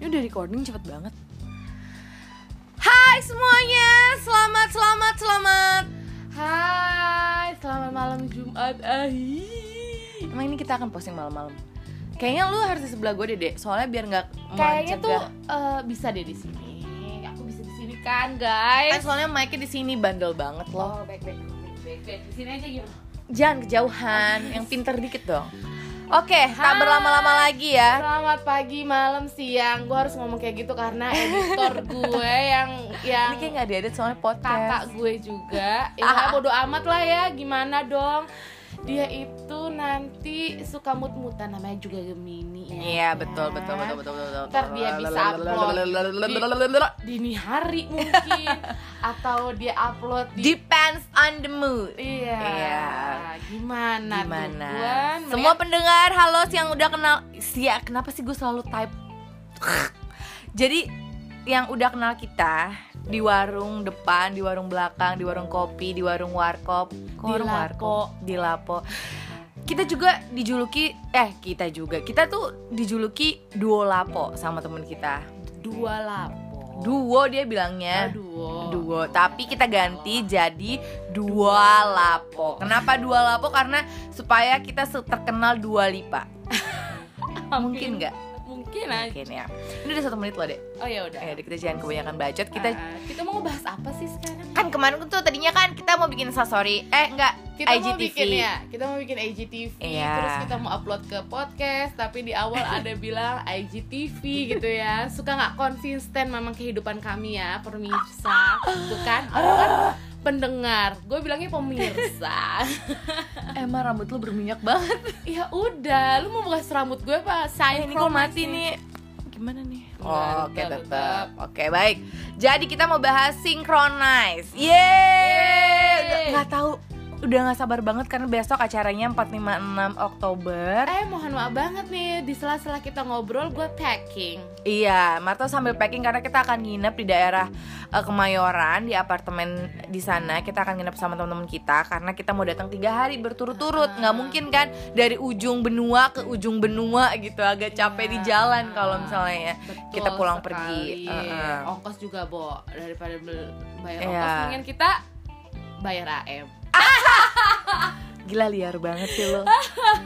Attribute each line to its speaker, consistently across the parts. Speaker 1: ini udah recording cepet banget Hai semuanya, selamat, selamat, selamat
Speaker 2: Hai, selamat malam Jumat. Ahi.
Speaker 1: Emang ini kita akan posting malam-malam Kayaknya lu harus di sebelah gue deh, Dek. soalnya biar nggak
Speaker 2: Kayaknya tuh
Speaker 1: mencegah.
Speaker 2: eh, bisa deh di sini. Aku bisa di sini kan,
Speaker 1: Eh,
Speaker 2: guys.
Speaker 1: soalnya mic-nya di sini bandel banget loh
Speaker 2: Oh, baik baik baik baik. baik. Di sini aja gimana?
Speaker 1: Jangan kejauhan, yang pinter dikit dong Oke, tak
Speaker 2: Hai.
Speaker 1: berlama-lama lagi ya
Speaker 2: Selamat pagi, malam, siang. Gue harus ngomong kayak gitu karena editor gue yang yang
Speaker 1: Ini kayak nggak diedit soalnya podcast
Speaker 2: kakak gue juga. Ya bodo amat lah ya. Gimana dong? Dia itu nanti suka mut-mutan namanya juga Gemini ya.
Speaker 1: Iya betul
Speaker 2: kan?
Speaker 1: betul betul betul betul. betul.
Speaker 2: Ntar dia bisa upload dini hari mungkin atau dia upload di
Speaker 1: Depends on the mood.
Speaker 2: iya
Speaker 1: Iya.
Speaker 2: gimana
Speaker 1: Gimana?
Speaker 2: tuh Gwan?
Speaker 1: Semua
Speaker 2: Mendingan-
Speaker 1: pendengar halo yang udah kenal Sia, kenapa sih gue selalu type? Jadi yang udah kenal kita di warung depan, di warung belakang, di warung kopi, di warung warkop, Kok
Speaker 2: Di
Speaker 1: warung
Speaker 2: Lapo.
Speaker 1: warkop? di Lapo. Kita juga dijuluki eh kita juga. Kita tuh dijuluki duo Lapo sama temen kita.
Speaker 2: dua lapo
Speaker 1: Duo dia bilangnya.
Speaker 2: duo
Speaker 1: Oh. duo tapi kita ganti jadi dua lapo kenapa dua lapo karena supaya kita se- terkenal dua lipa mungkin nggak
Speaker 2: mungkin aja
Speaker 1: mungkin ya ini udah satu menit loh dek
Speaker 2: oh ya udah
Speaker 1: ya kita jangan kebanyakan bacot kita
Speaker 2: Ah, kita mau ngebahas apa sih sekarang
Speaker 1: kan kemarin tuh tadinya kan kita mau bikin sasori eh enggak
Speaker 2: kita mau
Speaker 1: IGTV.
Speaker 2: bikin ya kita mau bikin IGTV
Speaker 1: Iya.
Speaker 2: terus kita mau upload ke podcast tapi di awal ada bilang IGTV gitu ya suka nggak konsisten memang kehidupan kami ya pemirsa bukan orang kan pendengar gue bilangnya pemirsa
Speaker 1: emang rambut lu berminyak banget
Speaker 2: ya udah lu mau buka rambut gue
Speaker 1: Eh,
Speaker 2: apa saya
Speaker 1: ini gue mati nih gimana nih
Speaker 2: Enggak,
Speaker 1: oke
Speaker 2: tetap,
Speaker 1: tetap oke baik jadi kita mau bahas synchronize yeay Udah nggak tahu udah nggak sabar banget karena besok acaranya 456 Oktober
Speaker 2: eh mohon maaf banget nih di sela-sela kita ngobrol gue packing
Speaker 1: Iya, Marta sambil packing karena kita akan nginep di daerah eh, Kemayoran di apartemen di sana. Kita akan nginep sama teman-teman kita karena kita mau datang tiga hari berturut-turut. Nggak mungkin kan dari ujung benua ke ujung benua gitu. Agak capek di jalan kalau misalnya ya.
Speaker 2: Betul
Speaker 1: Kita pulang pergi.
Speaker 2: sekali.
Speaker 1: Heeh.
Speaker 2: ongkos juga bo daripada bel- bayar
Speaker 1: Iya.
Speaker 2: ongkos mendingan kita bayar AM
Speaker 1: Gila liar banget sih lo.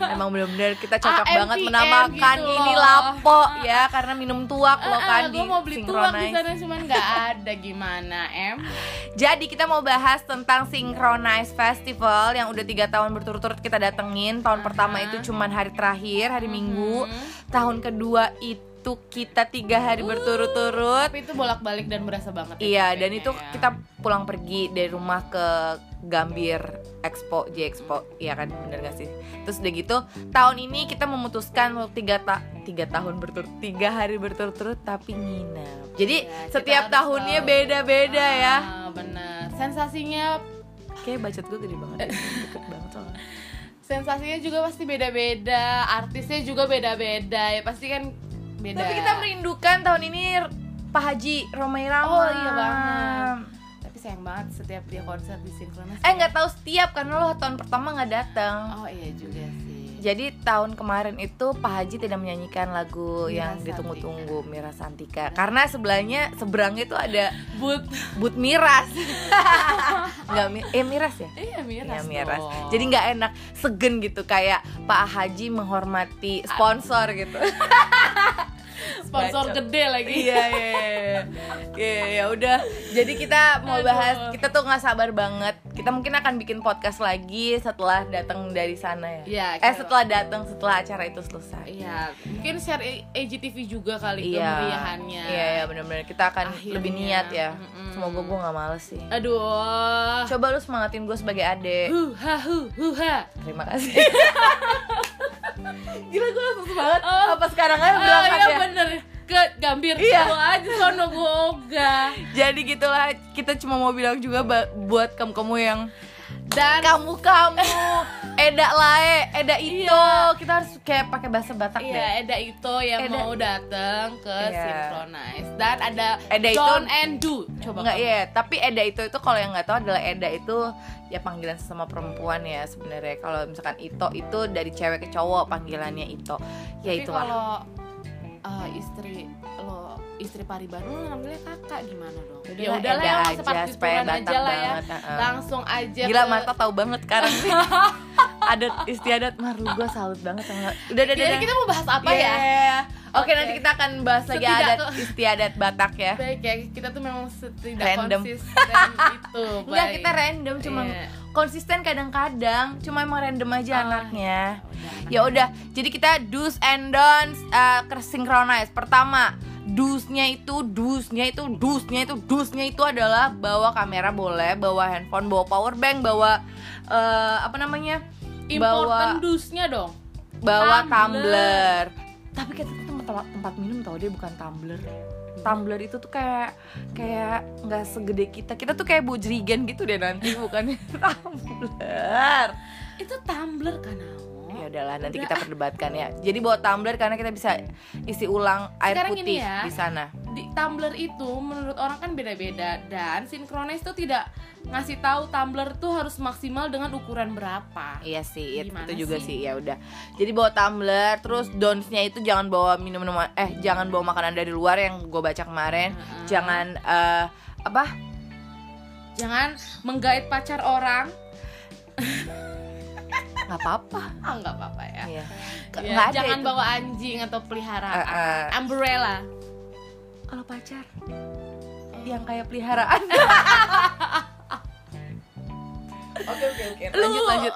Speaker 1: Emang benar-benar kita cocok
Speaker 2: AMPM
Speaker 1: banget menamakan
Speaker 2: gitu
Speaker 1: ini
Speaker 2: loh.
Speaker 1: lapo ya karena minum tuak lo
Speaker 2: Ah,
Speaker 1: kan di
Speaker 2: gua mau beli tuak
Speaker 1: Synchronize.
Speaker 2: di sana cuman nggak ada gimana em
Speaker 1: Jadi kita mau bahas tentang Synchronize Festival yang udah tiga tahun berturut-turut kita datengin. Tahun pertama itu cuman hari terakhir, hari Minggu.
Speaker 2: Mhm.
Speaker 1: Tahun kedua itu kita tiga hari berturut-turut.
Speaker 2: tapi itu bolak-balik dan berasa banget ya
Speaker 1: Iya,
Speaker 2: capeknya
Speaker 1: dan itu
Speaker 2: ya.
Speaker 1: kita pulang pergi dari rumah ke Gambir Expo, J Expo, iya kan, bener gak sih? Terus udah gitu, tahun ini kita memutuskan untuk tiga ta tiga tahun berturut tiga hari berturut-turut tapi nginep. Jadi
Speaker 2: Iya, kita
Speaker 1: setiap
Speaker 2: harus
Speaker 1: tahunnya
Speaker 2: tahu.
Speaker 1: beda-beda ya.
Speaker 2: Ah, bener sensasinya
Speaker 1: Kayak bacot gue gede banget, deket banget soalnya.
Speaker 2: Iya. sensasinya juga pasti beda-beda artisnya juga beda-beda ya pasti kan beda
Speaker 1: Tapi kita merindukan tahun ini Pak Haji Romai Rama.
Speaker 2: Oh, iya banget. tapi sayang banget setiap dia konser di sinkronis ya.
Speaker 1: Eh nggak tahu setiap karena lo tahun pertama nggak datang.
Speaker 2: oh iya juga sih
Speaker 1: Jadi tahun kemarin itu Pak Haji tidak menyanyikan lagu
Speaker 2: Mira
Speaker 1: yang ditunggu-tunggu Mira Santika karena sebelahnya seberangnya itu ada
Speaker 2: but
Speaker 1: But Miras. Enggak Mi- eh Miras ya?
Speaker 2: iya
Speaker 1: Iya
Speaker 2: miras,
Speaker 1: Miras.
Speaker 2: dong.
Speaker 1: Jadi nggak enak segen gitu kayak Pak Haji menghormati sponsor gitu.
Speaker 2: sponsor
Speaker 1: Bacot.
Speaker 2: gede lagi
Speaker 1: Iya iya iya. iya. ya udah. Jadi kita mau
Speaker 2: Aduh.
Speaker 1: bahas kita tuh nggak sabar banget. Kita mungkin akan bikin podcast lagi setelah datang dari sana ya.
Speaker 2: Iya,
Speaker 1: eh
Speaker 2: kita-
Speaker 1: setelah datang setelah acara itu selesai.
Speaker 2: Iya, mungkin share E- EGTV juga kali kemeriahannya.
Speaker 1: Iya iya benar-benar kita akan
Speaker 2: Akhirnya.
Speaker 1: lebih niat ya.
Speaker 2: Mm-mm. Ah.
Speaker 1: Semoga gue nggak males sih.
Speaker 2: Aduh.
Speaker 1: Coba lu semangatin gue sebagai adek.
Speaker 2: Huha hu huha.
Speaker 1: Terima kasih. Gila gue langsung banget.
Speaker 2: Oh.
Speaker 1: Apa sekarang aja
Speaker 2: Oh
Speaker 1: berangkat
Speaker 2: iya
Speaker 1: ya?
Speaker 2: bener ke gambir
Speaker 1: Iya.
Speaker 2: Gua aja sono gua ogah.
Speaker 1: Jadi gitulah kita cuma mau bilang juga ba- buat kamu-kamu yang
Speaker 2: Dan
Speaker 1: kamu kamu Eda Lae, Eda Ito, kita harus kayak pakai bahasa Batak deh.
Speaker 2: Iya, Eda Ito yang
Speaker 1: ya? Eda-
Speaker 2: mau datang ke
Speaker 1: Iya.
Speaker 2: Synchronize Dan ada
Speaker 1: Eda Ito-
Speaker 2: John and Do Coba
Speaker 1: Enggak
Speaker 2: kamu-
Speaker 1: ya, tapi Eda itu itu kalau yang nggak tahu adalah Eda itu ya panggilan sesama perempuan ya sebenarnya. Kalau misalkan Ito itu dari cewek ke cowok panggilannya Ito. Ya
Speaker 2: Tapi
Speaker 1: itulah.
Speaker 2: kalau eh, istri lo istri Paribanu lo ngambilnya kakak gimana dong?
Speaker 1: Yaudah
Speaker 2: Ya
Speaker 1: lah,
Speaker 2: udah lah
Speaker 1: Eda
Speaker 2: ya
Speaker 1: aja,
Speaker 2: seperti
Speaker 1: supaya
Speaker 2: aja
Speaker 1: bantah
Speaker 2: lah ya.
Speaker 1: banget, heeh.
Speaker 2: Langsung aja
Speaker 1: Gila
Speaker 2: ke-
Speaker 1: Marta tahu banget sekarang sih. Adat istiadat Marlu gue salut banget sama. Udah udah udah.
Speaker 2: Jadi kita mau bahas apa ya?
Speaker 1: ya? Oke
Speaker 2: Oke.
Speaker 1: nanti kita akan bahas lagi
Speaker 2: Setidak
Speaker 1: adat
Speaker 2: tuh.
Speaker 1: istiadat Batak ya.
Speaker 2: Baik ya, kita tuh memang setidak
Speaker 1: Random.
Speaker 2: konsisten itu.
Speaker 1: Enggak
Speaker 2: baik.
Speaker 1: kita random cuma
Speaker 2: Iya.
Speaker 1: konsisten kadang-kadang cuma emang random aja
Speaker 2: Ah,
Speaker 1: anaknya.
Speaker 2: Udah, anak.
Speaker 1: Ya udah, jadi kita do's and don'ts uh, synchronize. Pertama, do's-nya itu, do's-nya itu, do's-nya itu, do's-nya itu adalah bawa kamera boleh, bawa handphone, bawa power bank, bawa eh, apa namanya?
Speaker 2: Important
Speaker 1: bawa
Speaker 2: dusnya dong.
Speaker 1: bawa tumbler.
Speaker 2: tumbler.
Speaker 1: Tapi kita tuh tempat tempat minum tau dia bukan tumbler. Tumbler itu tuh kayak kayak nggak segede kita. Kita tuh kayak bujrigen gitu deh nanti bukannya tumbler.
Speaker 2: Itu tumbler kan Ao?
Speaker 1: Ya udahlah nanti
Speaker 2: Udah.
Speaker 1: kita perdebatkan ya. Jadi bawa tumbler karena kita bisa isi ulang air
Speaker 2: Sekarang
Speaker 1: putih
Speaker 2: gini ya.
Speaker 1: di sana.
Speaker 2: di Tumblr itu menurut orang kan beda-beda dan Synchronize tuh tidak ngasih tahu Tumblr tuh harus maksimal dengan ukuran berapa.
Speaker 1: Iya sih, it-
Speaker 2: Gimana
Speaker 1: itu juga sih,
Speaker 2: sih?
Speaker 1: ya udah. Jadi bawa tumbler, terus donsnya itu jangan bawa minum minuman eh jangan bawa makanan dari luar yang gue baca kemarin.
Speaker 2: Heeh.
Speaker 1: Jangan eh, apa?
Speaker 2: Jangan menggait pacar orang.
Speaker 1: nggak apa-apa.
Speaker 2: Ah nggak apa-apa ya.
Speaker 1: Iya. Nggak
Speaker 2: Ya,
Speaker 1: nggak ada
Speaker 2: jangan
Speaker 1: itu.
Speaker 2: bawa anjing atau peliharaan.
Speaker 1: Eh, eh.
Speaker 2: Umbrella.
Speaker 1: Kalau pacar yang kayak peliharaan. Oke oke oke. Lanjut
Speaker 2: Lu-
Speaker 1: lanjut.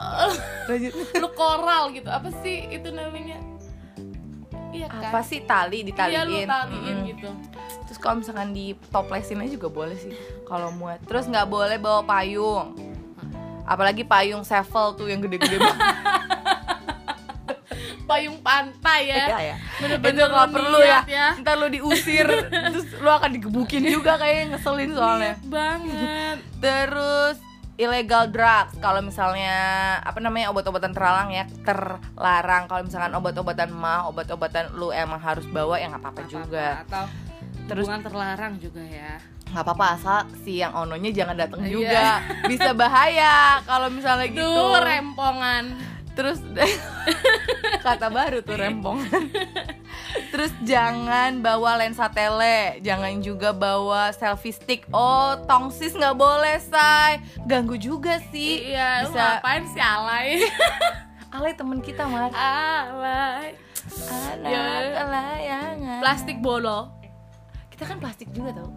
Speaker 1: Lanjut.
Speaker 2: Lu koral gitu. Apa sih itu namanya? Iya kan?
Speaker 1: Apa sih tali ditaliin?
Speaker 2: Iya lu taliin
Speaker 1: Mm-mm.
Speaker 2: gitu.
Speaker 1: Terus kalau misalkan di toplesin aja juga boleh sih kalau muat. Terus nggak boleh bawa payung. Apalagi payung sevel tuh yang gede-gede banget
Speaker 2: Payung pantai ya.
Speaker 1: ya.
Speaker 2: Bener-bener
Speaker 1: Itu nggak
Speaker 2: lu
Speaker 1: perlu ya.
Speaker 2: niat ya.
Speaker 1: Ntar lu diusir, terus lu akan digebukin juga kayak ngeselin soalnya.
Speaker 2: Niat banget.
Speaker 1: Terus illegal drugs kalau misalnya apa namanya obat-obatan terlarang ya terlarang kalau misalkan obat-obatan mah obat-obatan lu emang harus bawa ya nggak apa-apa
Speaker 2: Nggak
Speaker 1: juga
Speaker 2: apa-apa. Atau
Speaker 1: Terus-
Speaker 2: hubungan terlarang juga ya.
Speaker 1: nggak apa-apa asal si yang ononya jangan datang
Speaker 2: Iya.
Speaker 1: juga bisa bahaya kalau misalnya gitu
Speaker 2: Duh, rempongan.
Speaker 1: terus kata baru tuh rempong terus jangan bawa lensa tele jangan juga bawa selfie stick oh tongsis nggak boleh say ganggu juga sih
Speaker 2: Iya, lu
Speaker 1: bisa
Speaker 2: ngapain sih alay?
Speaker 1: alay temen kita mar
Speaker 2: Ah, alay.
Speaker 1: anak
Speaker 2: Ya.
Speaker 1: layangan
Speaker 2: Plastik bolo.
Speaker 1: kita kan plastik juga tau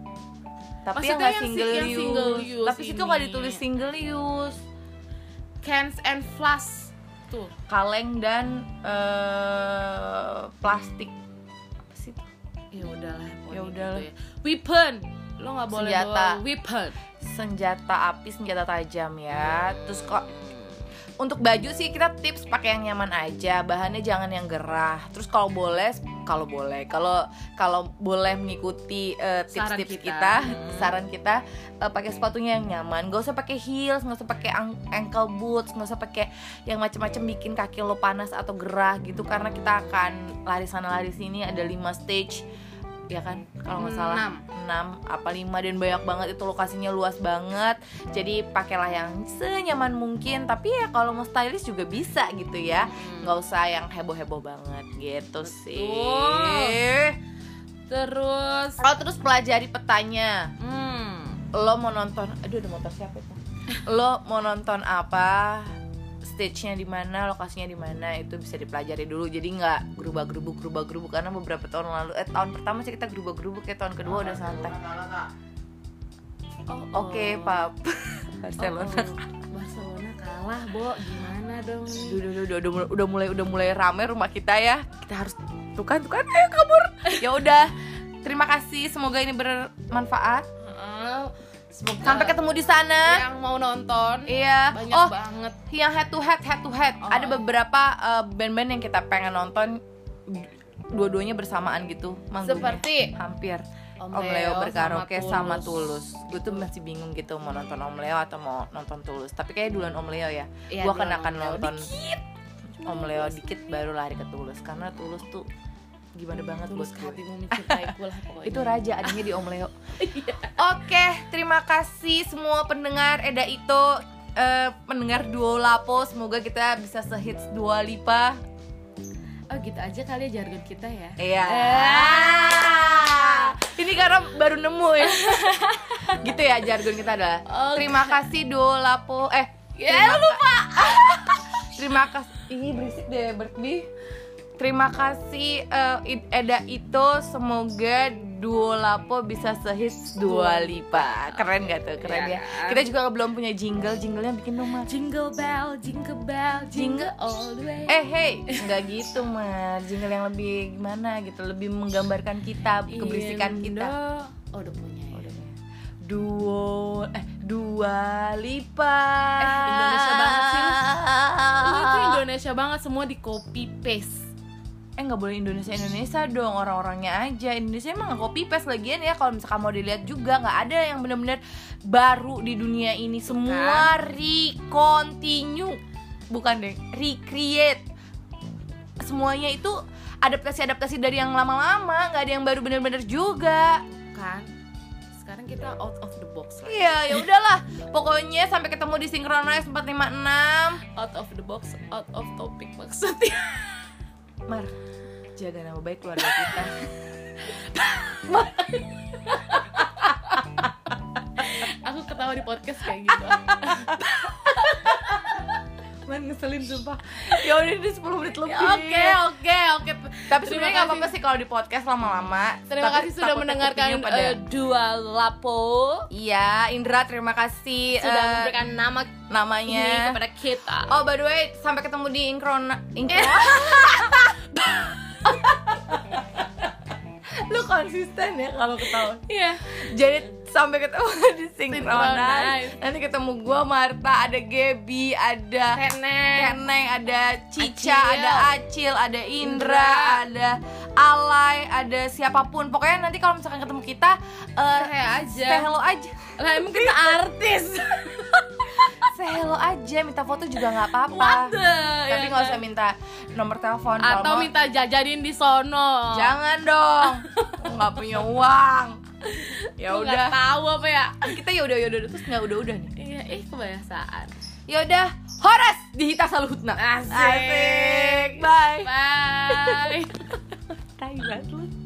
Speaker 1: tapi
Speaker 2: Maksudnya
Speaker 1: yang nggak
Speaker 2: yang si-
Speaker 1: single,
Speaker 2: yang
Speaker 1: use.
Speaker 2: single use
Speaker 1: tapi situ nggak
Speaker 2: ini.
Speaker 1: ditulis single use
Speaker 2: Cans and flask. Tuh.
Speaker 1: kaleng dan eh, plastik apa sih
Speaker 2: Ya udahlah, pokoknya
Speaker 1: Ya udahlah.
Speaker 2: gitu ya. Weapon. Lo nggak boleh
Speaker 1: Senjata.
Speaker 2: bawa weapon.
Speaker 1: senjata api senjata tajam ya terus kok untuk baju sih kita tips pakai yang nyaman aja bahannya jangan yang gerah terus kalau boleh kalau boleh kalau kalau boleh mengikuti eh, tips-tips
Speaker 2: Saran
Speaker 1: kita,
Speaker 2: kita.
Speaker 1: saran kita eh, pakai sepatunya yang nyaman gak usah pakai heels gak usah pakai ang- ankle boots gak usah pakai yang macam-macam bikin kaki lo panas atau gerah gitu karena kita akan lari sana lari sini ada 5 stage ya kan kalau nggak salah
Speaker 2: Enam.
Speaker 1: 6 apa 5 dan banyak banget itu lokasinya luas banget jadi pakailah yang senyaman mungkin tapi ya kalau mau stylish juga bisa gitu ya nggak usah yang heboh heboh banget gitu sih
Speaker 2: Terus
Speaker 1: oh terus pelajari petanya
Speaker 2: hmm.
Speaker 1: lo mau nonton aduh ada motor siapa itu lo mau nonton apa stage-nya di mana, lokasinya di mana itu bisa dipelajari dulu. Jadi nggak gerubah-gerubuk, gerubah-gerubuk karena beberapa tahun lalu eh tahun pertama sih kita gerubah-gerubuk ya tahun kedua udah santai.
Speaker 2: Oh, oh.
Speaker 1: Oke, Pap.
Speaker 2: Oh,
Speaker 1: Barcelona.
Speaker 2: oh. Barcelona kalah, Bo. Gimana dong?
Speaker 1: Duh, duh, duh, udah, mulai- udah mulai udah mulai rame rumah kita ya. Kita harus tuh kan, tuh kan, ayo kabur. Ya udah. Terima kasih, semoga ini bermanfaat.
Speaker 2: Heeh. Semoga
Speaker 1: Sampai ketemu di sana.
Speaker 2: yang mau nonton
Speaker 1: Iya.
Speaker 2: banyak
Speaker 1: Oh,
Speaker 2: banget.
Speaker 1: yang head to head, head to head.
Speaker 2: Oh.
Speaker 1: Ada beberapa eh, band-band yang kita pengen nonton dua-duanya bersamaan gitu manggungnya.
Speaker 2: Seperti
Speaker 1: hampir
Speaker 2: Om
Speaker 1: Om
Speaker 2: Leo
Speaker 1: Leo
Speaker 2: sama
Speaker 1: berkaraoke sama Tulus.
Speaker 2: Tulus.
Speaker 1: Gue tuh masih bingung gitu mau nonton Om Leo atau mau nonton Tulus. Tapi kayak duluan Om Leo ya.
Speaker 2: Iya,
Speaker 1: gue
Speaker 2: duluan
Speaker 1: kenakan
Speaker 2: Om Leo.
Speaker 1: nonton Om Leo dikit baru lari ke Tulus karena Tulus tuh gimana banget
Speaker 2: tulus ke
Speaker 1: buat gue.
Speaker 2: hatimu mencintaiku lah pokoknya.
Speaker 1: Itu raja adanya di Om Leo. Oke, terima kasih semua pendengar Eda Ito eh, pendengar duo Lapo. Semoga kita bisa sehits dua lipa.
Speaker 2: oh gitu aja kali ya jargon kita ya
Speaker 1: Iya.
Speaker 2: Ah.
Speaker 1: Ini karena baru nemu ya. gitu ya jargon kita adalah.
Speaker 2: Oh,
Speaker 1: Terima kasih dolapo eh
Speaker 2: Ya,
Speaker 1: lupa. terima kasih. Ih, berisik deh Bertbi. Terima kasih eh, Id- Eda itu semoga Duolapo bisa sehits dua lipa Keren gak tuh? Keren
Speaker 2: Iya
Speaker 1: ya
Speaker 2: kan?
Speaker 1: Kita juga belum punya jingle Jinglenya bikin dong Mar
Speaker 2: jingle bell jingle bell jingle all the way
Speaker 1: Eh hey Gak gitu Mar Jingle yang lebih gimana gitu Lebih menggambarkan kita Keberisikan kita
Speaker 2: Iya, Indo- oh udah punya ya.
Speaker 1: duo eh dua lipa
Speaker 2: Eh, Indonesia banget sih Iya, lu. Lu itu
Speaker 1: Ah.
Speaker 2: Indonesia banget semua di copy paste
Speaker 1: eh nggak boleh Indonesia Indonesia dong orang-orangnya aja Indonesia emang nggak copy paste lagian ya kalau misalkan mau dilihat juga nggak ada yang benar-benar baru di dunia ini semua recontinue bukan deh recreate semuanya itu adaptasi-adaptasi dari yang lama-lama nggak ada yang baru bener-bener juga
Speaker 2: kan sekarang kita out of the box lah
Speaker 1: iya ya udahlah pokoknya sampai ketemu di Synchronize 456
Speaker 2: out of the box out of topic maksudnya
Speaker 1: Mar, jaga nama baik keluarga kita.
Speaker 2: aku ketawa di podcast kayak gitu
Speaker 1: Mar ngeselin sumpah. Ya udah ini 10 menit lebih.
Speaker 2: oke oke oke
Speaker 1: Tapi
Speaker 2: Terima
Speaker 1: sebenarnya nggak
Speaker 2: kasih.
Speaker 1: apa-apa sih kalau di podcast lama-lama.
Speaker 2: terima
Speaker 1: Tapi
Speaker 2: kasih sudah
Speaker 1: takutnya
Speaker 2: mendengarkan
Speaker 1: kupingnya pada-
Speaker 2: eh, dua lapo
Speaker 1: Iya, Indra terima kasih
Speaker 2: sudah
Speaker 1: eh, iya.
Speaker 2: memberikan nama
Speaker 1: namanya.
Speaker 2: ini kepada kita
Speaker 1: Oh by the way, sampai ketemu di Inkron Inkron. Lu konsisten ya kalau ketawa.
Speaker 2: iya
Speaker 1: Jadi sampai ketemu di Synchronize.
Speaker 2: Synchronize.
Speaker 1: Nanti ketemu gua Marta, ada Gaby, ada
Speaker 2: Tenet
Speaker 1: Neneng, ada Cica,
Speaker 2: Acil.
Speaker 1: ada Acil, ada Indra,
Speaker 2: Indra.
Speaker 1: ada Alay, ada siapapun. Pokoknya nanti kalau misalkan ketemu kita, eh
Speaker 2: Say aja
Speaker 1: say hello aja.
Speaker 2: lah emang kita artis
Speaker 1: Say hello aja, minta foto juga nggak apa-apa.
Speaker 2: what the
Speaker 1: Tapi
Speaker 2: ya
Speaker 1: nggak
Speaker 2: kan?
Speaker 1: usah minta nomor telepon. kalau
Speaker 2: atau
Speaker 1: mau.
Speaker 2: minta jajanin di sono
Speaker 1: Jangan dong, nggak punya uang. Ya
Speaker 2: Gua nggak
Speaker 1: udah,
Speaker 2: tahu apa ya
Speaker 1: kita ya udah ya udah terus nggak udah udah nih.
Speaker 2: iya ih kebiasaan
Speaker 1: Ya udah, Horas di Hita Saluhutna.
Speaker 2: Asik.
Speaker 1: Asik. Bye.
Speaker 2: bye
Speaker 1: Tai banget lu.